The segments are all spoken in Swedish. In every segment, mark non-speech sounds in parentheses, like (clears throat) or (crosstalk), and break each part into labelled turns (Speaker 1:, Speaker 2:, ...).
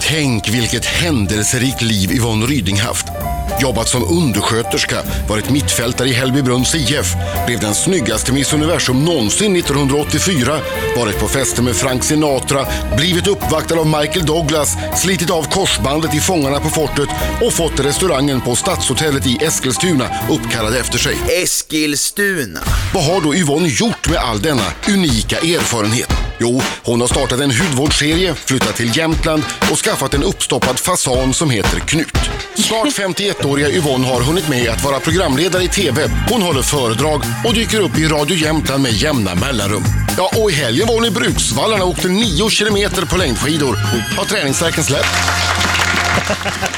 Speaker 1: Tänk vilket händelserikt liv Yvonne Ryding haft. Jobbat som undersköterska, varit mittfältare i Hällbybrunns IF, blev den snyggaste Miss Universum någonsin 1984, varit på fester med Frank Sinatra, blivit uppvaktad av Michael Douglas, slitit av korsbandet i Fångarna på fortet och fått restaurangen på Stadshotellet i Eskilstuna uppkallad efter sig.
Speaker 2: Eskilstuna.
Speaker 1: Vad har då Yvonne gjort med all denna unika erfarenhet? Jo, hon har startat en hudvårdsserie, flyttat till Jämtland och skaffat en uppstoppad fasan som heter Knut. Snart 51-åriga Yvonne har hunnit med att vara programledare i TV. Hon håller föredrag och dyker upp i Radio Jämtland med jämna mellanrum. Ja, och i helgen var hon i Bruksvallarna och åkte 9 kilometer på längdskidor. Har träningsvärken släppt?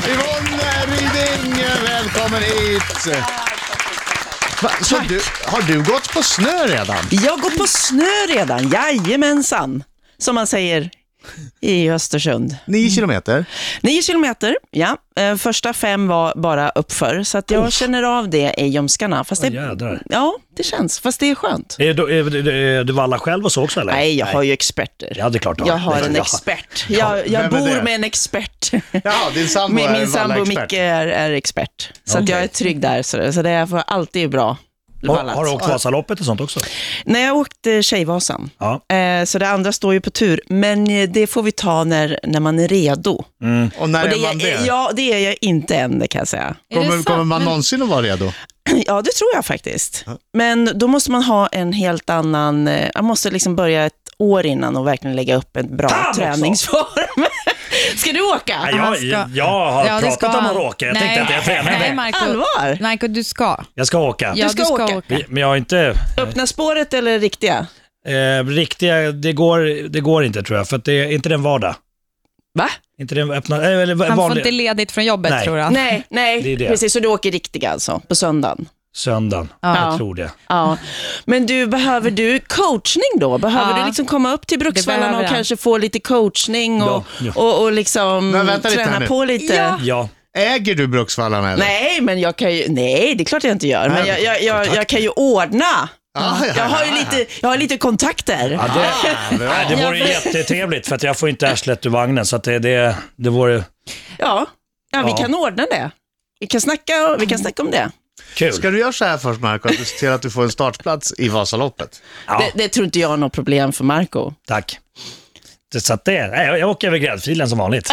Speaker 3: Yvonne Ryding, välkommen hit! Va, så du, har du gått på snö redan?
Speaker 4: Jag går på snö redan, jajamensan, som man säger i Östersund.
Speaker 3: Nio kilometer.
Speaker 4: Nio kilometer, ja. Eh, Första fem var bara uppför, så att jag känner av det i ljumskarna. Fast det,
Speaker 5: Åh, jädrar.
Speaker 4: ja, det känns, fast det är skönt.
Speaker 5: Är du, är, du- är du valla själv och så också eller?
Speaker 4: Nej, jag har ju experter.
Speaker 5: Ja, det är klart du har.
Speaker 4: jag har en
Speaker 5: Ja.
Speaker 4: expert. Jag, jag
Speaker 3: vem är
Speaker 4: bor
Speaker 3: det?
Speaker 4: med en expert. (laughs)
Speaker 3: Ja, din sambo
Speaker 4: min
Speaker 3: är
Speaker 4: min sambo
Speaker 3: vallaexpert.
Speaker 4: Micke är, är expert. Så att jag är trygg där, så det, så det är för alltid bra.
Speaker 5: Har,
Speaker 4: vallat.
Speaker 5: har du åkt Vasaloppet och sånt också?
Speaker 4: Nej, jag åkte Tjejvasan.
Speaker 5: Ja.
Speaker 4: Eh, Så det andra står ju på tur, men eh, det får vi ta när, när man är redo.
Speaker 3: Och när
Speaker 4: Och det
Speaker 3: är man det?
Speaker 4: är, ja, det är jag inte än, det kan jag säga. (clears throat)
Speaker 6: Är det
Speaker 3: Kommer,
Speaker 6: sant?
Speaker 3: kommer man
Speaker 6: Men-
Speaker 3: någonsin att vara redo?
Speaker 4: Ja, det tror jag faktiskt. Men då måste man ha en helt annan... eh, Man måste liksom börja ett år innan och verkligen lägga upp en bra
Speaker 5: Fan också!
Speaker 4: träningsform. (laughs) ska du åka?
Speaker 5: Nej, jag,
Speaker 6: ska-
Speaker 5: jag, jag har
Speaker 6: Ja, det
Speaker 5: pratat
Speaker 6: ska
Speaker 5: om att
Speaker 6: han.
Speaker 5: åka. Jag
Speaker 6: Nej.
Speaker 5: tänkte att jag tränar
Speaker 6: Nej,
Speaker 5: med.
Speaker 6: Marco.
Speaker 4: Allvar?
Speaker 6: Marco, du ska.
Speaker 5: Jag ska åka.
Speaker 6: Ja,
Speaker 4: Du ska åka.
Speaker 5: Vi- Men jag har inte...
Speaker 4: Öppna spåret eller riktiga?
Speaker 5: Eh, riktiga, det går, det går inte tror jag, för att det är inte den vardag.
Speaker 4: Va?
Speaker 5: Inte den öppna... eh, Eller
Speaker 6: Han får
Speaker 5: vanlig...
Speaker 6: inte ledigt från jobbet
Speaker 5: Nej.
Speaker 6: tror jag.
Speaker 4: Nej, nej.
Speaker 5: Det är det.
Speaker 4: precis. Så du åker riktiga alltså, på söndagen?
Speaker 5: Söndagen.
Speaker 6: Ja.
Speaker 5: Jag tror det.
Speaker 4: Ja. Men du, behöver du coachning då? Behöver
Speaker 6: Ja.
Speaker 4: du liksom komma upp till Bruksvallarna
Speaker 6: behöver
Speaker 4: och
Speaker 6: jag.
Speaker 4: kanske få lite coachning och,
Speaker 5: Ja,
Speaker 4: och, och liksom
Speaker 3: Men vänta lite här
Speaker 4: träna
Speaker 3: nu.
Speaker 4: på lite?
Speaker 6: Ja.
Speaker 5: Ja.
Speaker 3: Äger du Bruksvallarna eller?
Speaker 4: Nej, men jag kan ju, nej, det är klart jag inte gör. Men
Speaker 3: Nej,
Speaker 4: jag, jag, jag, jag kan ju ordna.
Speaker 3: Ah, ja,
Speaker 4: Jag har ju
Speaker 3: ja,
Speaker 4: lite, jag har lite kontakter.
Speaker 5: Ja, det,
Speaker 3: ja, bra.
Speaker 5: nej, det vore ju jättetrevligt, för att jag får inte arslet ur vagnen, så att det, det, det vore
Speaker 4: Ja, ja vi
Speaker 5: Ja.
Speaker 4: kan ordna det. Vi kan, snacka, vi kan snacka om det.
Speaker 5: kul.
Speaker 3: Ska du göra så här först Marco, att du ser till att du får en startplats i Vasaloppet?
Speaker 5: Ja.
Speaker 4: det. Det tror inte jag är något problem för Marco.
Speaker 5: Tack. Det- Så att det, nej, jag, jag åker över gräddfilen som vanligt.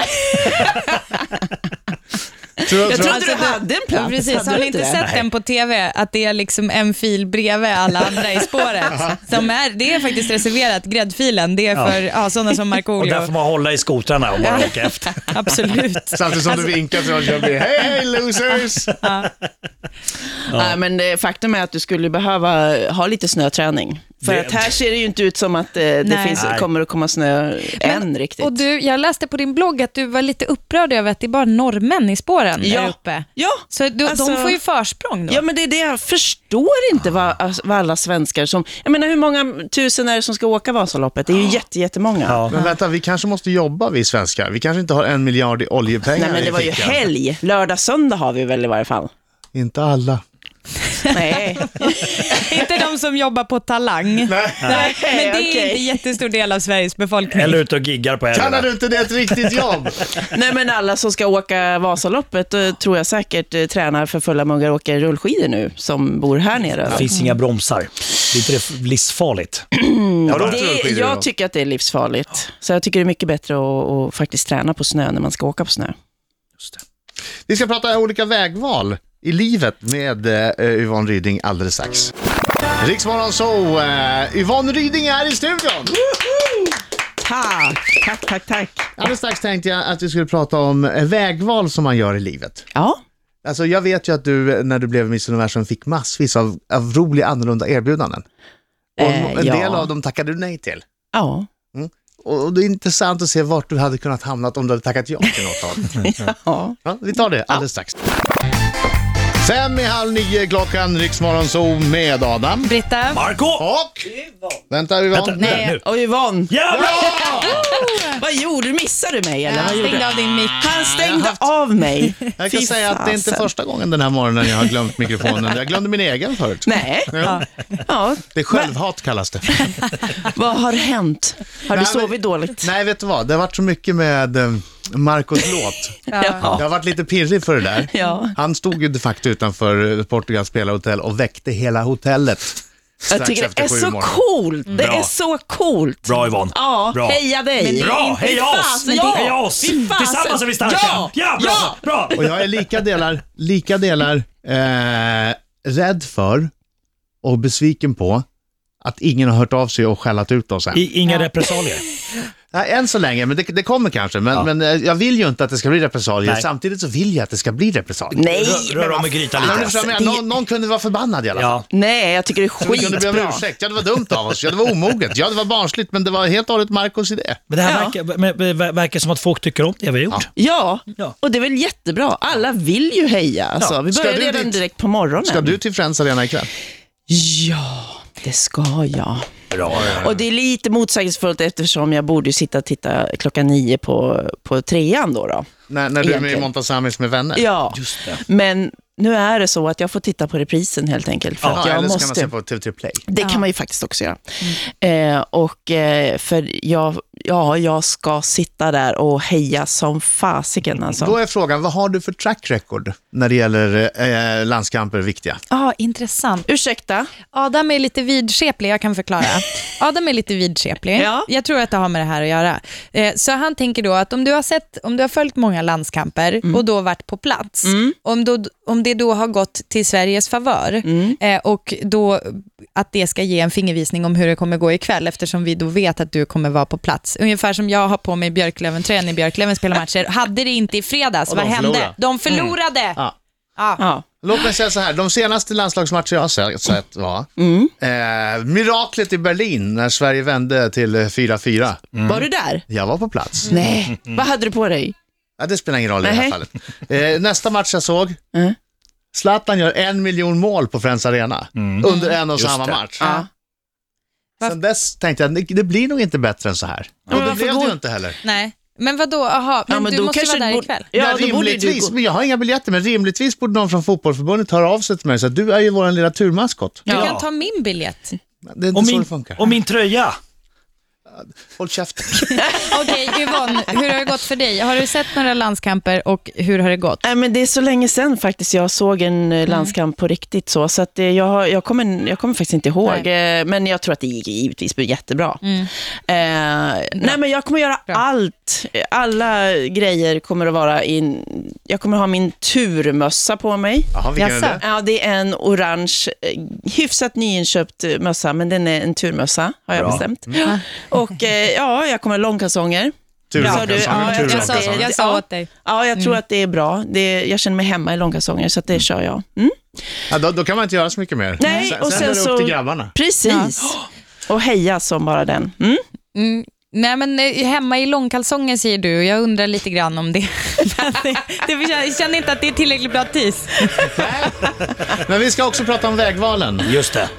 Speaker 3: Tror,
Speaker 4: Jag
Speaker 3: tror-
Speaker 4: trodde
Speaker 6: Alltså,
Speaker 4: du
Speaker 6: det-
Speaker 4: hade en plats.
Speaker 6: Precis,
Speaker 4: Hade
Speaker 6: har
Speaker 4: du
Speaker 6: ni inte sett den på TV? Att det är liksom en fil bredvid alla andra
Speaker 5: (laughs)
Speaker 6: i spåret. Som är, det är faktiskt reserverat, gräddfilen. Det är för ja, sådana som
Speaker 5: Och där får
Speaker 6: Markoolio.
Speaker 5: man hålla i skotrarna och bara åka efter.
Speaker 6: (laughs) Absolut. Alltså,
Speaker 3: Samtidigt som
Speaker 4: alltså-
Speaker 3: du vinkar till dem som blir hej hej losers!
Speaker 4: Nej, men det, faktum är att du skulle behöva ha lite snöträning. För
Speaker 5: Det-
Speaker 4: att här ser det ju inte ut som att eh, det
Speaker 6: Nej.
Speaker 4: finns,
Speaker 5: Nej.
Speaker 4: kommer att komma snö än riktigt.
Speaker 6: Och du, jag läste på din blogg att du var lite upprörd över att det är bara norrmän i spåren
Speaker 4: Ja.
Speaker 6: där uppe.
Speaker 4: ja,
Speaker 6: Så du,
Speaker 4: Alltså-
Speaker 6: de får ju försprång då.
Speaker 4: ja, men det är det jag förstår inte vad, alltså, vad alla svenskar som... Jag menar hur många tusen är det som ska åka Vasaloppet? Det är ju jätte, jättemånga.
Speaker 5: Ja.
Speaker 3: Men vänta, vi kanske måste jobba vi svenskar. Vi kanske inte har en miljard i oljepengar
Speaker 4: Nej, men
Speaker 3: i
Speaker 4: det var ju
Speaker 3: fickan.
Speaker 4: helg. Lördag, söndag har vi väl i varje
Speaker 6: (laughs)
Speaker 4: fall?
Speaker 3: Inte alla.
Speaker 4: Nej.
Speaker 6: Inte de som jobbar på Talang. Nej, men det är
Speaker 4: okej.
Speaker 6: inte en jättestor del av Sveriges befolkning.
Speaker 5: Eller ute och giggar på
Speaker 3: Kallar
Speaker 5: helgerna.
Speaker 3: du inte det ett riktigt jobb?
Speaker 4: Nej, men alla som ska åka Vasaloppet eh, tror jag säkert eh, tränar för fulla muggar och åker rullskidor nu, som bor här nere.
Speaker 5: Det finns inga bromsar. Det är inte det livsfarligt.
Speaker 3: Har du åkt
Speaker 4: Det,
Speaker 3: rullskidor
Speaker 4: jag
Speaker 3: då?
Speaker 4: tycker att det är livsfarligt. Så jag tycker det är mycket bättre att, att faktiskt träna på snö när man ska åka på snö.
Speaker 3: Vi ska prata om olika vägval i livet med eh, Yvonne Ryding alldeles strax. Riksmorgon så eh, Yvonne Ryding är i studion!
Speaker 4: Tack, tack, tack, tack.
Speaker 3: Alldeles strax tänkte jag att vi skulle prata om eh, vägval som man gör i livet.
Speaker 4: Ja,
Speaker 3: Alltså jag vet ju att du eh, när du blev Miss Universum fick massvis av, av roliga annorlunda erbjudanden. Och
Speaker 4: Eh,
Speaker 3: en
Speaker 4: ja.
Speaker 3: del av dem tackade du nej till.
Speaker 4: ja.
Speaker 3: Och och det är intressant att se vart du hade kunnat hamnat om du hade tackat ja till något av dem.
Speaker 4: (laughs) ja.
Speaker 3: Ja, vi tar det alldeles strax. Fem i halv nio klockan, Riksmorgon så med Adam.
Speaker 6: Britta?
Speaker 5: (clears throat) Marco!
Speaker 3: Och... Vänta, vi
Speaker 5: Vänta, nu,
Speaker 3: var...
Speaker 5: nu.
Speaker 4: Och Yvonne,
Speaker 5: Jävlar!
Speaker 4: vad gjorde du? Missade du mig? Eller?
Speaker 6: Han
Speaker 4: vad gjorde?
Speaker 6: stängde av din mick.
Speaker 4: Han stängde av mig.
Speaker 3: Jag kan
Speaker 4: Fy
Speaker 3: säga att det är inte
Speaker 4: fasen.
Speaker 3: första gången den här morgonen jag har glömt mikrofonen. Jag glömde min egen förut.
Speaker 4: Nej. Ja. Ja.
Speaker 3: Det är självhat kallas det.
Speaker 4: Vad har hänt? Har du
Speaker 3: Nej, men-
Speaker 4: sovit dåligt?
Speaker 3: Nej, vet du vad? Det har varit så mycket med eh, Marcos låt.
Speaker 4: (laughs) Ja.
Speaker 3: Jag har varit lite pirrig för det där.
Speaker 4: Ja.
Speaker 3: Han stod ju de facto utanför Portugals spelarhotell och väckte hela hotellet.
Speaker 4: Jag tycker det är så coolt. Det
Speaker 5: Bra.
Speaker 4: är så coolt.
Speaker 5: Bra Yvonne.
Speaker 4: Ja,
Speaker 5: Bra.
Speaker 4: heja dig.
Speaker 5: Bra, heja
Speaker 4: Fy
Speaker 5: oss!
Speaker 4: fasen, ja.
Speaker 5: Heja oss!
Speaker 4: Fy fasen.
Speaker 5: Tillsammans är vi starka!
Speaker 4: Ja!
Speaker 5: bra! bra.
Speaker 3: Och jag är lika delar, lika delar eh, rädd för och besviken på att ingen har hört av sig och skällat ut oss än.
Speaker 5: I, inga repressalier.
Speaker 3: Nej, än så länge, men det, det kommer kanske. Men, men eh, jag vill ju inte att det ska bli repressalier.
Speaker 5: Nej.
Speaker 3: Samtidigt så vill jag att det ska bli repressalier.
Speaker 4: Nej,
Speaker 5: Rör, rör om i grytan
Speaker 3: Nej, men du
Speaker 5: lite.
Speaker 3: förstår vad jag menar. någon, någon kunde vara förbannad i alla fall.
Speaker 5: Ja.
Speaker 4: nej, jag tycker det är
Speaker 3: Vi kunde be om
Speaker 4: skitbra.
Speaker 3: ursäkt. Ja, det var dumt av oss. Ja, det var omoget. Ja, det var barnsligt, men det var helt och hållet Marcos idé.
Speaker 5: Men det här
Speaker 4: Ja.
Speaker 5: verkar, men, men, ver- verkar som att folk tycker om det vi har gjort.
Speaker 4: Ja,
Speaker 5: Ja.
Speaker 4: och det är väl jättebra. Alla vill ju heja. Alltså,
Speaker 5: Ja.
Speaker 4: Vi
Speaker 3: Ska
Speaker 4: börjar
Speaker 3: du
Speaker 4: redan
Speaker 3: dit?
Speaker 4: direkt på morgonen.
Speaker 3: Ska du till Friends Arena ikväll?
Speaker 4: Ja, det ska jag.
Speaker 5: Bra.
Speaker 4: Och det är lite motsägelsefullt eftersom jag borde ju sitta och titta klockan nio på, på trean då. då.
Speaker 3: När, när du är med i
Speaker 4: Egentligen.
Speaker 3: Montazamis med vänner?
Speaker 4: Ja,
Speaker 5: Just det.
Speaker 4: men nu är det så att jag får titta på reprisen helt enkelt. För
Speaker 3: Ja,
Speaker 4: att jag
Speaker 3: eller så
Speaker 4: måste...
Speaker 3: kan man se på TV3 Play.
Speaker 4: Det kan man ju faktiskt också göra.
Speaker 5: Mm.
Speaker 4: Eh, och eh, för jag, ja, jag ska sitta där och heja som fasiken
Speaker 3: Då
Speaker 4: alltså.
Speaker 3: är frågan, vad har du för track record när det gäller eh, landskamper viktiga?
Speaker 6: Ja, Ah, intressant.
Speaker 4: Ursäkta?
Speaker 6: Adam är lite vidskeplig, jag
Speaker 4: (laughs)
Speaker 6: kan förklara. Adam är lite vidskeplig.
Speaker 4: Ja.
Speaker 6: Jag tror att det har med det här att göra. Eh, Så han tänker då att om du har, sett, om du har följt många landskamper
Speaker 4: Mm.
Speaker 6: och då varit på plats, om, då, om det då har gått till Sveriges favör
Speaker 4: Mm.
Speaker 6: eh, och då att det ska ge en fingervisning om hur det kommer gå ikväll eftersom vi då vet att du kommer vara på plats. Ungefär som jag har på mig Björklöven-tröjan när Björklöven
Speaker 4: (laughs)
Speaker 6: spelar matcher. Hade det inte i fredags,
Speaker 3: Och
Speaker 6: vad
Speaker 3: de
Speaker 6: hände?
Speaker 3: förlorade.
Speaker 6: De förlorade!
Speaker 4: Mm.
Speaker 3: Ja.
Speaker 6: Ja.
Speaker 4: Ja.
Speaker 3: Låt mig säga så här, de senaste landslagsmatcher jag har se- sett var
Speaker 4: Mm.
Speaker 3: eh, miraklet i Berlin när Sverige vände till eh, 4-4.
Speaker 4: Var du där?
Speaker 3: Jag var på plats.
Speaker 4: Nej. Vad hade du på dig?
Speaker 3: Ja, det spelar ingen roll i det här
Speaker 4: Nej.
Speaker 3: fallet. Eh, nästa match jag såg,
Speaker 4: Mm.
Speaker 3: Zlatan gör en miljon mål på Friends Arena under en och
Speaker 5: Mm. Just
Speaker 3: samma
Speaker 5: det.
Speaker 3: match.
Speaker 4: Ja.
Speaker 3: Sen dess tänkte jag, det- det blir nog inte bättre än så här. och det
Speaker 4: varför
Speaker 3: blev det ju
Speaker 4: går-
Speaker 3: inte heller.
Speaker 6: Nej. Men vadå, aha, men,
Speaker 4: Ja, men
Speaker 6: du
Speaker 4: då
Speaker 6: måste
Speaker 4: kanske
Speaker 6: vara
Speaker 4: du
Speaker 6: där
Speaker 4: borde-
Speaker 6: ikväll?
Speaker 4: Ja,
Speaker 3: Nej,
Speaker 4: då borde ju du
Speaker 3: rimligtvis,
Speaker 4: gå.
Speaker 3: men jag har inga biljetter, men rimligtvis borde någon från fotbollförbundet höra av sig till mig så att du är ju vår lilla turmaskott.
Speaker 6: Du
Speaker 4: Ja.
Speaker 6: kan ta min biljett.
Speaker 3: Det är inte
Speaker 5: Och
Speaker 3: så
Speaker 5: min,
Speaker 3: det funkar.
Speaker 5: och min tröja.
Speaker 3: Håll käften.
Speaker 4: (laughs)
Speaker 6: Okej, Yvonne, hur har det gått för dig? Har du sett några landskamper och hur har det gått?
Speaker 4: Nej, men det är så länge sedan faktiskt jag såg en eh, landskamp på riktigt. så, så att eh, jag, har- jag, kommer, jag kommer faktiskt inte ihåg, eh, men jag tror att det gick givetvis jättebra. Eh, Nej, men jag kommer göra allt. Eh, Alla grejer kommer att vara in... Jag kommer ha min turmössa på mig.
Speaker 3: Jaha, vilken är
Speaker 6: Jaså?
Speaker 3: det?
Speaker 4: Ja, det är en orange, eh, hyfsat nyinköpt eh, mössa, men den är en turmössa, har jag
Speaker 5: Bra. Mm.
Speaker 4: bestämt. Och eh, ja, jag kommer ha långkalsonger. Sa du? Ja,
Speaker 3: Turlackan.
Speaker 4: jag-
Speaker 6: Jag sa,
Speaker 4: det-
Speaker 6: jag sa
Speaker 4: ja.
Speaker 6: åt dig.
Speaker 4: Ja, jag tror att det är bra. Det, jag känner mig hemma i långkalsonger, så att det kör jag. Mm.
Speaker 3: Ja, då, då kan man inte göra så mycket mer.
Speaker 4: Nej,
Speaker 3: sen,
Speaker 4: och
Speaker 3: är
Speaker 4: sen
Speaker 3: det
Speaker 4: så-
Speaker 3: upp till grabbarna.
Speaker 4: Precis. Och heja som bara den. Mm.
Speaker 6: Mm. Nej, men eh, hemma i långkalsonger säger du. Jag undrar lite grann om det. (laughs) Men det- det- Jag känner inte att det är tillräckligt bra tis.
Speaker 3: Men vi ska också prata om vägvalen.
Speaker 5: Just det.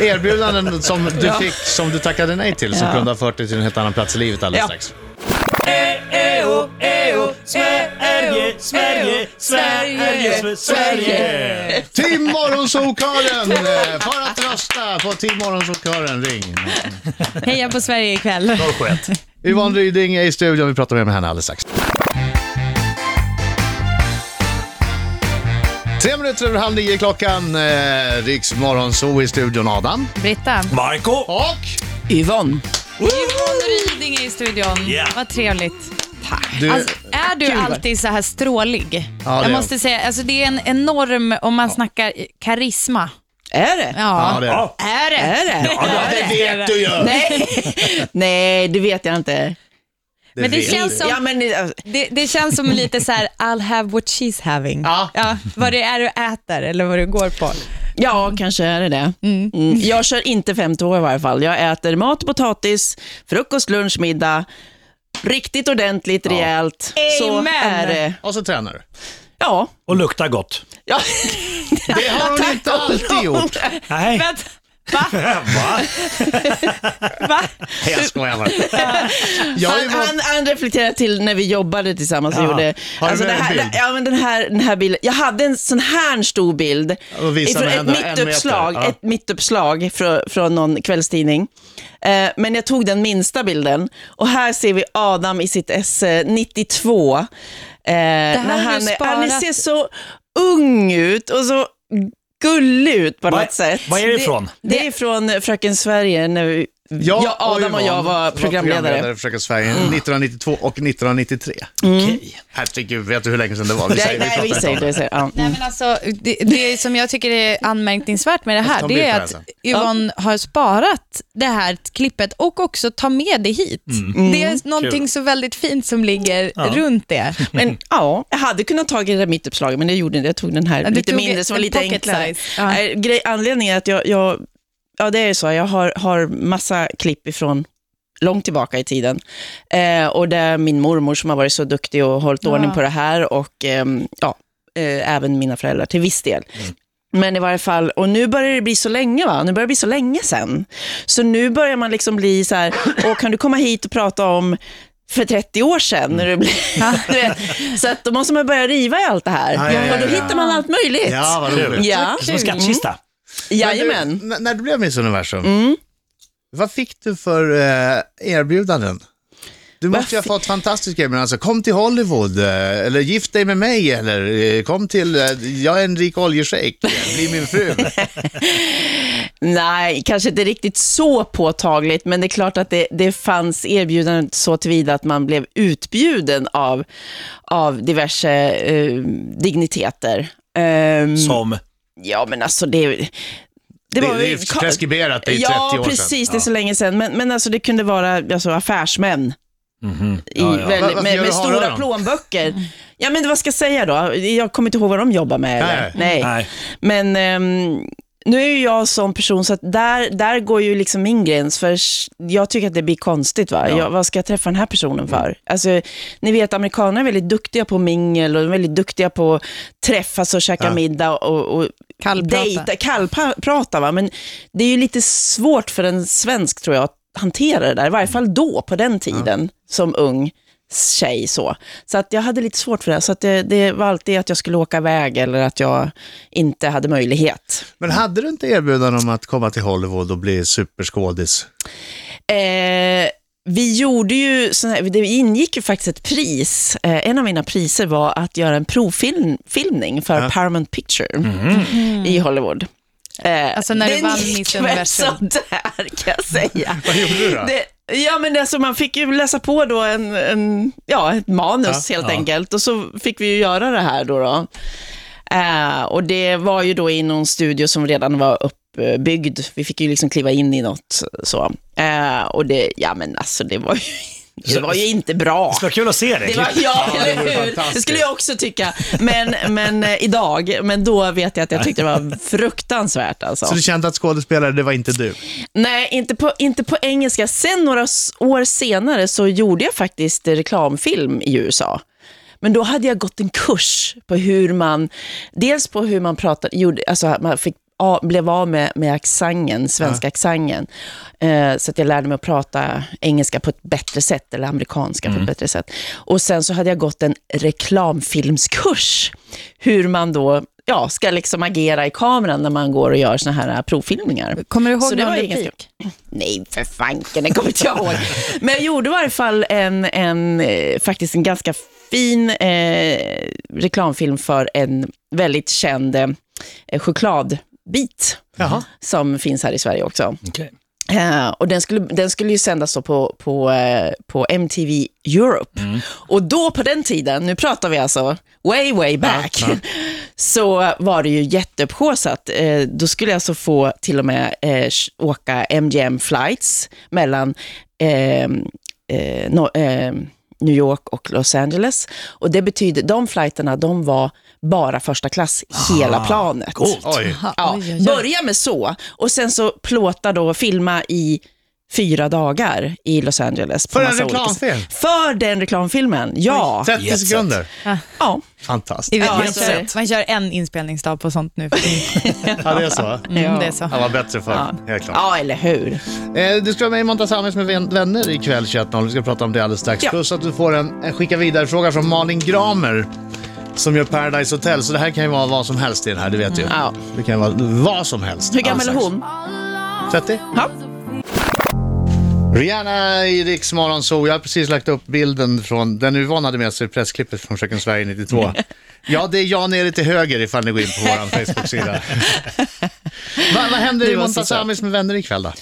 Speaker 4: (laughs)
Speaker 3: Erbjudanden som du fick, som du tackade nej till, som kunde ha fört dig till en helt annan plats i livet alldeles
Speaker 4: Ja.
Speaker 3: strax.
Speaker 5: Sverige, Sverige, Sverige, Sverige.
Speaker 3: Team Morgonzoo-kören! eh, För att rösta på Team Morgonzoo-kören, ring.
Speaker 6: Heja på Sverige ikväll.
Speaker 5: 01.
Speaker 3: Yvonne Ryding är i studion, vi pratar mer med henne alldeles strax. Tre minuter över halv nio är klockan, eh, Riks Morgonzoo i studion, Adam.
Speaker 6: Britta.
Speaker 5: Marco.
Speaker 3: Och?
Speaker 4: Yvonne.
Speaker 6: Yvonne Ryding är i studion.
Speaker 5: Ja.
Speaker 6: Vad trevligt.
Speaker 3: Du,
Speaker 6: Alltså, är du
Speaker 4: vad-
Speaker 6: alltid så här strålig?
Speaker 3: det är
Speaker 6: jag
Speaker 3: jag.
Speaker 6: måste säga, alltså, det är en enorm, om man snackar eh, karisma.
Speaker 4: Är det?
Speaker 3: ja, det är det.
Speaker 5: Ja,
Speaker 6: Är det?
Speaker 4: Är det?
Speaker 3: det vet du ju!
Speaker 4: Nej. (laughs) Nej, det vet jag inte.
Speaker 6: Men det
Speaker 3: vet
Speaker 6: känns som,
Speaker 4: Ja, men, eh,
Speaker 6: det, det känns som lite så här, I'll have what she's having.
Speaker 3: Ja.
Speaker 6: vad det är du äter eller vad du går på.
Speaker 4: ja, kanske är det det. Mm. Jag kör inte fem tår i varje fall. Jag äter mat, potatis, frukost, lunch, middag. Riktigt ordentligt, rejält. Så
Speaker 6: Amen.
Speaker 4: är det.
Speaker 3: Och så tränar
Speaker 4: (laughs)
Speaker 3: du.
Speaker 4: Ja.
Speaker 5: och luktar gott.
Speaker 4: ja.
Speaker 3: Det har hon inte alltid gjort.
Speaker 5: Nej.
Speaker 6: Vänta,
Speaker 3: (laughs)
Speaker 5: Va?
Speaker 6: Va?
Speaker 3: Jag skojar bara. Jag har ju
Speaker 4: Han,
Speaker 3: varit...
Speaker 4: han, han reflekterar till när vi jobbade tillsammans. och
Speaker 5: Ja.
Speaker 4: Gjorde,
Speaker 3: Har du
Speaker 4: alltså
Speaker 3: med
Speaker 4: det
Speaker 3: en
Speaker 4: här,
Speaker 3: bild?
Speaker 4: Ja, men den här, den här bilden. Jag hade en sån här stor bild.
Speaker 3: Och visa med
Speaker 4: ett,
Speaker 3: händerna, en
Speaker 4: mittuppslag,
Speaker 3: meter. Ja.
Speaker 4: ett mittuppslag från, från någon kvällstidning. Eh, men jag tog den minsta bilden. Och här ser vi Adam i sitt esse 92. Eh, när
Speaker 6: har du
Speaker 4: han, är- han
Speaker 6: sparat.
Speaker 4: ser så ung ut och så gullig ut på något sätt.
Speaker 5: Vad är det ifrån?
Speaker 4: Det är från Fröken Sverige när vi,
Speaker 3: Jag
Speaker 4: jag, Adam och jag
Speaker 3: Yvonne
Speaker 4: var programledare. Mm.
Speaker 3: för Fröken Sverige 1992 och 1993. Okej. Herregud, vet du hur länge sedan det var? Vi
Speaker 4: Nej,
Speaker 3: säger-
Speaker 4: nej, vi
Speaker 3: pratar
Speaker 4: säger
Speaker 3: inte om
Speaker 4: det. Säger, ja.
Speaker 6: Nej, men alltså, det, det som jag tycker är anmärkningsvärt med
Speaker 3: Jag
Speaker 6: det
Speaker 3: ska ta
Speaker 6: här,
Speaker 3: en
Speaker 6: det
Speaker 3: bild
Speaker 6: är
Speaker 3: på
Speaker 6: att
Speaker 3: det här
Speaker 6: Yvonne har sparat det här klippet och också tar med det hit.
Speaker 3: Mm.
Speaker 6: Det är någonting så väldigt fint som ligger runt det.
Speaker 4: Men ja, jag hade kunnat ta det där mittuppslaget, men det gjorde jag inte. Jag tog den här
Speaker 6: Ja, du
Speaker 4: lite
Speaker 6: tog
Speaker 4: mindre, som var
Speaker 6: en
Speaker 4: lite
Speaker 6: pocket
Speaker 4: enklare.
Speaker 6: size. Ja.
Speaker 4: Eh, Grej, anledningen är att jag, jag, ja det är ju så, jag har, har massa klipp ifrån långt tillbaka i tiden. Eh, och det är min mormor som har varit så duktig och hållit
Speaker 6: Ja.
Speaker 4: ordning på det här och ehm, ja, eh, även mina föräldrar till viss del.
Speaker 3: Mm.
Speaker 4: Men i varje fall, och nu börjar det bli så länge va? Nu börjar det bli så länge sen. Så nu börjar man liksom bli så här, och kan du komma hit och prata om för 30 år sedan? När
Speaker 3: Mm.
Speaker 4: det blir, (laughs) du vet. Så att då måste man börja riva i allt det här.
Speaker 3: Ja, ja, ja,
Speaker 4: och då
Speaker 3: ja.
Speaker 4: hittar man allt möjligt.
Speaker 3: Ja, vad roligt.
Speaker 4: ja. Mm.
Speaker 5: Som en skattkista.
Speaker 4: Jajamän.
Speaker 3: Men du, n- när du blev Miss Universum, vad fick du för eh, erbjudanden? Du måste ju ha
Speaker 4: fi-
Speaker 3: fått fantastiska erbjudanden, alltså kom till Hollywood, eh, eller gift dig med mig, eller eh, kom till, eh, jag är en rik oljeshejk, eh, bli min
Speaker 4: (laughs)
Speaker 3: fru.
Speaker 4: Nej, kanske inte riktigt så påtagligt, men det är klart att det, det fanns erbjudanden så tillvida att man blev utbjuden av, av diverse eh, digniteter. Ehm,
Speaker 5: Som...
Speaker 4: Ja, men alltså det...
Speaker 3: Det,
Speaker 4: var
Speaker 3: det
Speaker 4: ju-
Speaker 3: är preskriberat, det är 30
Speaker 4: ja,
Speaker 3: år sedan.
Speaker 4: precis. Det är så länge sedan. Men, men alltså, det kunde vara alltså, affärsmän.
Speaker 3: Mhm.
Speaker 4: I, väldigt-
Speaker 3: Vad- vad
Speaker 4: med
Speaker 3: gör
Speaker 4: med
Speaker 3: du har
Speaker 4: stora
Speaker 3: de?
Speaker 4: plånböcker. Ja, men vad ska jag säga då? Jag kommer inte ihåg vad de jobbar med. Eller? Nej.
Speaker 5: Nej.
Speaker 4: Men ehm, nu är ju jag sån person, så att där, där går ju liksom min gräns. För s- jag tycker att det blir konstigt. Va? Jag, vad ska jag träffa den här personen
Speaker 3: Mm.
Speaker 4: för? Alltså, ni vet, amerikaner är väldigt duktiga på mingel och de är väldigt duktiga på att träffas och käka middag och, och
Speaker 6: Kallprata.
Speaker 4: dejta, kallprata. Va? Men det är ju lite svårt för en svensk, tror jag, att hantera det där. I varje fall då, på den tiden, som ung tjej. Så, så att jag hade lite svårt för det. Så att det, det var alltid att jag skulle åka iväg eller att jag inte hade möjlighet.
Speaker 3: Men hade du inte erbjudande om att komma till Hollywood och bli superskådis?
Speaker 4: Eh, vi gjorde ju, sån här, det ingick ju faktiskt ett pris. Eh, en av mina priser var att göra en provfilmning för Paramount Picture i Hollywood. Eh,
Speaker 6: Alltså när du
Speaker 4: den
Speaker 6: vann
Speaker 4: gick
Speaker 6: Miss
Speaker 4: väl
Speaker 6: Universum.
Speaker 4: sådär kan jag säga.
Speaker 3: (laughs) Vad gjorde du då?
Speaker 4: Det, ja, men alltså, man fick ju läsa på då en, en, ja, ett manus helt enkelt och så fick vi ju göra det här då. då. Eh, och det var ju då i någon studio som redan var uppbyggd. Vi fick ju liksom kliva in i något så. Eh, och det, ja men alltså det var ju, det var ju inte bra.
Speaker 5: Det var kul att se
Speaker 4: Det
Speaker 5: det.
Speaker 4: var,
Speaker 3: (laughs)
Speaker 4: ja, eller
Speaker 3: vore
Speaker 4: hur? Det
Speaker 3: fantastiskt.
Speaker 4: skulle jag också tycka. Men, men eh, idag, men då vet jag att jag tyckte det var fruktansvärt alltså.
Speaker 3: Så du kände att skådespelare, det var inte du?
Speaker 4: Nej, inte på, inte på engelska. Sen några s- år senare så gjorde jag faktiskt reklamfilm i USA. Men då hade jag gått en kurs på hur man, dels på hur man pratade, gjorde, alltså att man fick, a- blev av med, med accenten, svenska accenten. Eh, så att jag lärde mig att prata engelska på ett bättre sätt, eller amerikanska på ett bättre sätt. Och sen så hade jag gått en reklamfilmskurs, hur man då ja, ska liksom agera i kameran när man går och gör såna här provfilmningar.
Speaker 6: Kommer du
Speaker 4: Så
Speaker 6: ihåg
Speaker 4: det
Speaker 6: någon
Speaker 4: var ju ganska-
Speaker 6: replik?
Speaker 4: Nej, för fanken, det kommer inte jag ihåg. Men jag gjorde i varje fall en, en eh, faktiskt en ganska fin eh, reklamfilm för en väldigt känd eh, chokladbit som finns här i Sverige också.
Speaker 5: Okej.
Speaker 4: Eh, och den skulle, den skulle ju sändas då på, på, eh, på MTV Europe. Och då på den tiden, nu pratar vi alltså way, way back, (laughs) så var det ju jätteuppsjåsat. Eh, då skulle jag alltså få till och med eh, sh- åka MGM flights mellan ehm, eh, no, ehm, New York och Los Angeles. Och det betyder, de flighterna, de var bara första klass hela planet.
Speaker 5: Coolt.
Speaker 3: Oj.
Speaker 6: Aha,
Speaker 4: Ja,
Speaker 6: oj, oj, oj.
Speaker 4: börja med så och sen så plåta då, filma i fyra dagar i Los Angeles. på
Speaker 3: För en
Speaker 4: massa olika sätt.
Speaker 3: reklamfilm?
Speaker 4: För den reklamfilmen, ja.
Speaker 3: 30
Speaker 5: Jet set.
Speaker 3: sekunder.
Speaker 4: ja.
Speaker 3: Fantastiskt.
Speaker 6: Det vet
Speaker 4: Ja,
Speaker 6: man,
Speaker 4: helt
Speaker 6: kör,
Speaker 4: rätt.
Speaker 6: man kör en inspelningsdag på sånt (laughs) nu.
Speaker 3: Ja, det är så.
Speaker 6: Mm, det är så.
Speaker 3: Han var bättre för
Speaker 4: Ja.
Speaker 3: helt klart.
Speaker 4: ja, eller hur?
Speaker 3: Eh, du ska vara med i Monta Sammes med vän- vänner ikväll 21.00. Vi ska prata om det alldeles strax.
Speaker 4: Ja.
Speaker 3: Plus att du får en, en skicka vidare-fråga från Malin Gramer som gör Paradise Hotel. Så det här kan ju vara vad som helst i den här, det vet du ju.
Speaker 4: Mm. Ja.
Speaker 3: Det kan vara vad som helst.
Speaker 4: Hur gammal är
Speaker 3: Alldeles
Speaker 4: hon?
Speaker 3: 30.
Speaker 4: Ja.
Speaker 3: Rihanna i Rix Morgon Zoo. Jag har precis lagt upp bilden från, den Yvonne hade med sig pressklippet från Fröken Sverige
Speaker 4: (laughs)
Speaker 3: 92. Ja, det är jag nere till höger ifall ni går in på vår Facebook-sida. Va, vad händer
Speaker 4: Det
Speaker 3: i
Speaker 4: var så
Speaker 3: Monta
Speaker 4: söt.
Speaker 3: Samis med vänner ikväll då?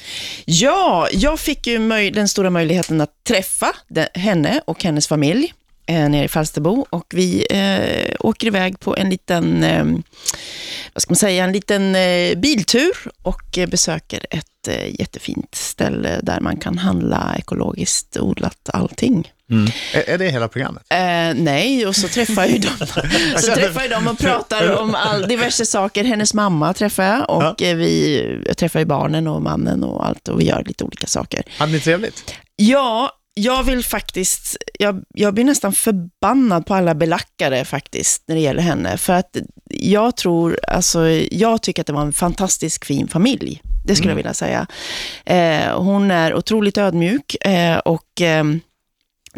Speaker 4: Ja, jag fick ju möj- den stora möjligheten att träffa de- henne och hennes familj eh, nere i Falsterbo och vi eh, åker iväg på en liten, eh, vad ska man säga, en liten eh, biltur och eh, besöker ett eh, jättefint ställe där man kan handla ekologiskt odlat allting.
Speaker 3: Är, är det hela programmet?
Speaker 4: Eh, nej, och så träffar ju de, så träffar ju de och pratar om all, diverse saker. Hennes mamma träffar jag och eh, vi jag träffar ju barnen och mannen och allt och vi gör lite olika saker.
Speaker 3: Hade ni trevligt?
Speaker 4: Ja, jag vill faktiskt, jag, jag blir nästan förbannad på alla belackare faktiskt när det gäller henne. För att jag tror, alltså jag tycker att det var en fantastisk fin familj. Det skulle jag vilja säga. Eh, hon är otroligt ödmjuk eh, och ehm,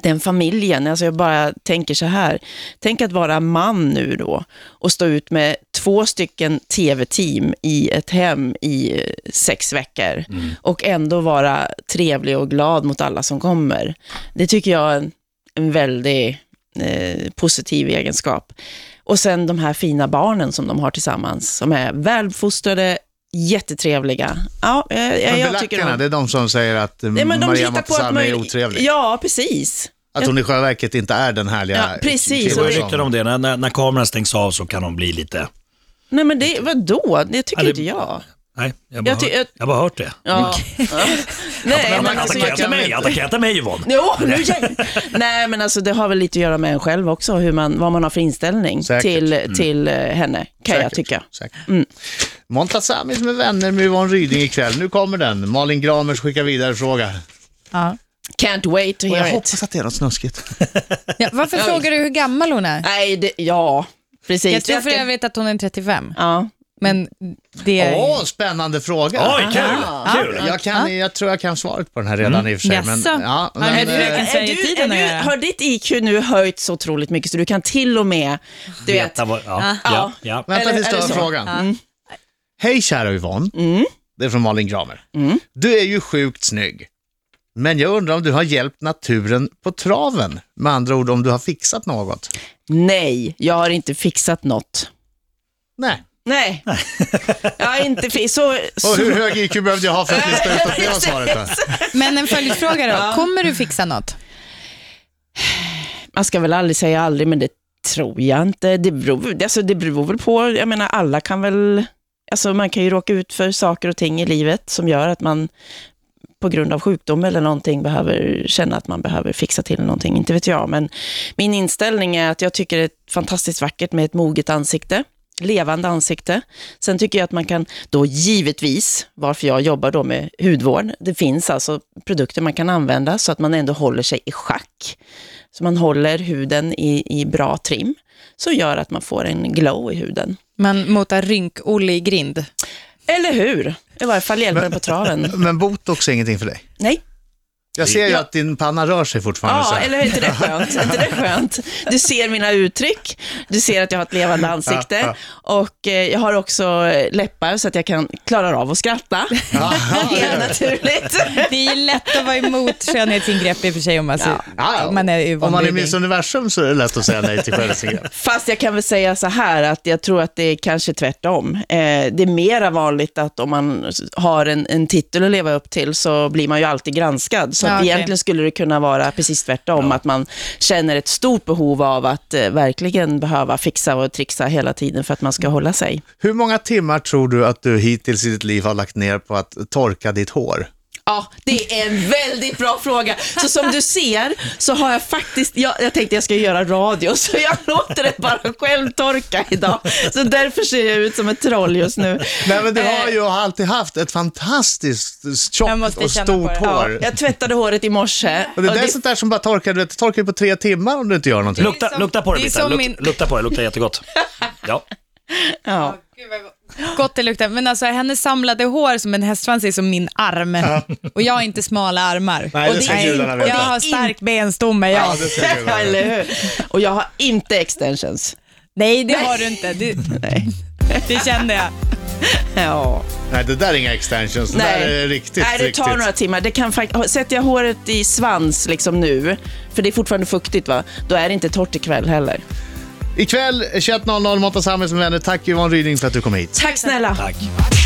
Speaker 4: den familjen, alltså jag bara tänker så här, tänk att vara man nu då och stå ut med två stycken tv-team i ett hem i eh, sex veckor
Speaker 3: Mm.
Speaker 4: och ändå vara trevlig och glad mot alla som kommer. Det tycker jag är en, en väldigt eh, positiv egenskap. Och sen de här fina barnen som de har tillsammans, som är välfostrade, jättetrevliga. Ja, eh, jag,
Speaker 3: Men
Speaker 4: jag tycker
Speaker 3: belackarna,
Speaker 4: om-
Speaker 3: det är de som säger att eh,
Speaker 4: Nej, men de
Speaker 3: Maria
Speaker 4: hittar på att
Speaker 3: Montazami är
Speaker 4: möj-
Speaker 3: otrevlig.
Speaker 4: Ja, precis.
Speaker 3: Att hon i själva verket inte är den härliga
Speaker 4: Ja, precis.
Speaker 3: killen
Speaker 5: Det
Speaker 4: Så
Speaker 5: går ju
Speaker 4: det-
Speaker 5: rykten om det. När, när, när kameran stängs av så kan de bli lite...
Speaker 4: Nej, men det, vadå? Det tycker
Speaker 5: Ja, det-
Speaker 4: inte jag.
Speaker 5: Nej, jag har bara,
Speaker 4: Jag ty-
Speaker 5: hört-
Speaker 4: jag-
Speaker 5: jag... har bara hört det.
Speaker 4: Ja. (laughs) Nej, men alltså,
Speaker 5: Attackera
Speaker 4: jag
Speaker 5: inte
Speaker 4: kan...
Speaker 5: mig, attackera inte mig Yvonne.
Speaker 4: Jo, nu jävlar. Nej, men alltså det har väl lite att göra med en själv också, hur man, vad man har för inställning
Speaker 3: Säkert.
Speaker 4: till, till eh, henne, kan jag
Speaker 3: Säkert,
Speaker 4: tycka.
Speaker 3: säkert.
Speaker 4: Mm.
Speaker 3: Montazamis med vänner med Yvonne Ryding ikväll. Nu kommer den. Malin Gramers skickar vidare fråga.
Speaker 6: Ja.
Speaker 4: Can't wait to
Speaker 3: Och jag
Speaker 4: hear it.
Speaker 3: hoppas att det är något snuskigt. (laughs)
Speaker 6: Ja, varför frågar du hur gammal hon är?
Speaker 4: Nej, det, ja, precis.
Speaker 6: Jag tror
Speaker 4: Jag
Speaker 6: för
Speaker 4: ska-
Speaker 6: övrigt att hon är 35,
Speaker 4: Ja.
Speaker 6: men det är...
Speaker 3: Åh, spännande fråga.
Speaker 5: Oj, kul! kul.
Speaker 3: Jag, kan, jag tror jag kan svaret på den här redan i och för sig. Men,
Speaker 6: Jaså?
Speaker 3: ja,
Speaker 6: Har ni
Speaker 3: men,
Speaker 6: försökt-
Speaker 3: eh,
Speaker 6: Vilken
Speaker 4: Är du, är
Speaker 6: Sverige-tiden är
Speaker 4: du,
Speaker 6: det?
Speaker 4: har ditt IQ nu höjt så otroligt mycket så du kan till och med, du vet,
Speaker 5: Veta vad- Ja, ja, ja.
Speaker 3: vänta
Speaker 4: Eller-
Speaker 3: tills du
Speaker 4: eller
Speaker 3: hör
Speaker 4: så. Mm.
Speaker 3: frågan. Mm. Hej kära Yvonne. Det är från Malin Gramer. Du är ju sjukt snygg. Men jag undrar om du har hjälpt naturen på traven? Med andra ord om du har fixat något?
Speaker 4: nej, jag har inte fixat något.
Speaker 3: Nej.
Speaker 4: Nej, jag har inte fixat, så,
Speaker 3: Och hur hög IQ behövde jag ha för att lista ut att det var
Speaker 4: (laughs)
Speaker 3: svaret? Då?
Speaker 6: Men
Speaker 3: (laughs)
Speaker 6: en följdfråga då, kommer du fixa något?
Speaker 4: man ska väl aldrig säga aldrig, men det tror jag inte. Det beror, alltså, det beror väl på, jag menar alla kan väl, alltså man kan ju råka ut för saker och ting i livet som gör att man på grund av sjukdom eller någonting behöver känna att man behöver fixa till någonting, inte vet jag. Men min inställning är att jag tycker det är fantastiskt vackert med ett moget ansikte, levande ansikte. Sen tycker jag att man kan då givetvis, varför jag jobbar då med hudvård, det finns alltså produkter man kan använda så att man ändå håller sig i schack. Så man håller huden i, i bra trim, så gör att man får en glow i huden.
Speaker 6: Man motar rynk-Olle i grind.
Speaker 4: Eller hur? I varje fall hjälper den på traven.
Speaker 3: Men botox är ingenting för dig? (laughs)
Speaker 4: Nej.
Speaker 3: Jag ser ju
Speaker 4: Ja.
Speaker 3: att din panna rör sig fortfarande. så
Speaker 4: Ja,
Speaker 3: här.
Speaker 4: eller är inte det
Speaker 3: (laughs)
Speaker 4: skönt? Är inte det skönt? Du ser mina uttryck, du ser att jag har ett levande ansikte och eh, jag har också eh, läppar så att jag kan klara av att skratta. (laughs) Helt naturligt.
Speaker 6: Det är ju lätt att vara emot skönhetsingrepp i och för sig om man, ser,
Speaker 3: Ja,
Speaker 6: om man
Speaker 4: eh,
Speaker 6: är Yvonne
Speaker 3: Om man är
Speaker 6: Ryding.
Speaker 3: Miss Universum så är det lätt att säga nej till
Speaker 4: (laughs)
Speaker 3: skönhetsingrepp.
Speaker 4: Fast jag kan väl säga så här att jag tror att det är kanske tvärtom. Eh, det är mera vanligt att om man har en, en titel att leva upp till så blir man ju alltid granskad. Så
Speaker 6: Ja,
Speaker 4: att
Speaker 6: okej.
Speaker 4: egentligen skulle det kunna vara precis tvärtom, att man känner ett stort behov av att eh, verkligen behöva fixa och trixa hela tiden för att man
Speaker 6: Mm.
Speaker 4: ska hålla sig.
Speaker 3: Hur många timmar tror du att du hittills i ditt liv har lagt ner på att torka ditt hår?
Speaker 4: Ja, det är en väldigt bra fråga. Så som du ser så har jag faktiskt, jag, jag tänkte jag ska göra radio så jag låter det bara självtorka idag. Så därför ser jag ut som ett troll just nu.
Speaker 3: Nej, men du har
Speaker 4: Eh,
Speaker 3: ju alltid haft ett fantastiskt
Speaker 6: Jag
Speaker 3: tjockt
Speaker 6: måste
Speaker 3: och
Speaker 6: känna på
Speaker 3: stort
Speaker 6: det.
Speaker 3: hår.
Speaker 4: Jag tvättade håret i morse.
Speaker 3: Och det där är
Speaker 4: det-
Speaker 3: sånt där som bara torkar, du vet, det torkar ju på tre timmar om du inte gör någonting.
Speaker 6: Det är
Speaker 5: Lukta,
Speaker 6: som-
Speaker 5: lukta på det,
Speaker 6: det är
Speaker 5: Britta.
Speaker 6: som
Speaker 5: Luk,
Speaker 6: min-
Speaker 5: Lukta på det,
Speaker 4: (laughs)
Speaker 5: luktar jättegott. Ja.
Speaker 4: ja.
Speaker 6: Gott det luktar. Men alltså hennes samlade hår som en hästsvans är som min arm. Och jag har inte smala armar.
Speaker 3: Nej, det
Speaker 6: och
Speaker 3: ska
Speaker 6: är
Speaker 3: gudarna
Speaker 6: inte-
Speaker 3: veta.
Speaker 6: jag har stark benstomme. Jag.
Speaker 4: Ja, (laughs) eller hur? Och jag har inte extensions.
Speaker 6: Nej, det har du
Speaker 3: (laughs)
Speaker 6: inte. Det,
Speaker 4: Nej.
Speaker 6: det kände jag.
Speaker 4: (laughs) Ja.
Speaker 3: Nej, det där är inga extensions, det där är riktigt,
Speaker 4: Nej, det tar
Speaker 3: riktigt.
Speaker 4: några timmar. Det kan fakt- Sätter jag håret i svans liksom nu, för det är fortfarande fuktigt, va? då är det inte torrt ikväll heller.
Speaker 3: Ikväll 21.00, Måndag Samhälls med vänner. Tack Yvonne Ryding för att du kom hit.
Speaker 4: Tack snälla.
Speaker 5: Tack.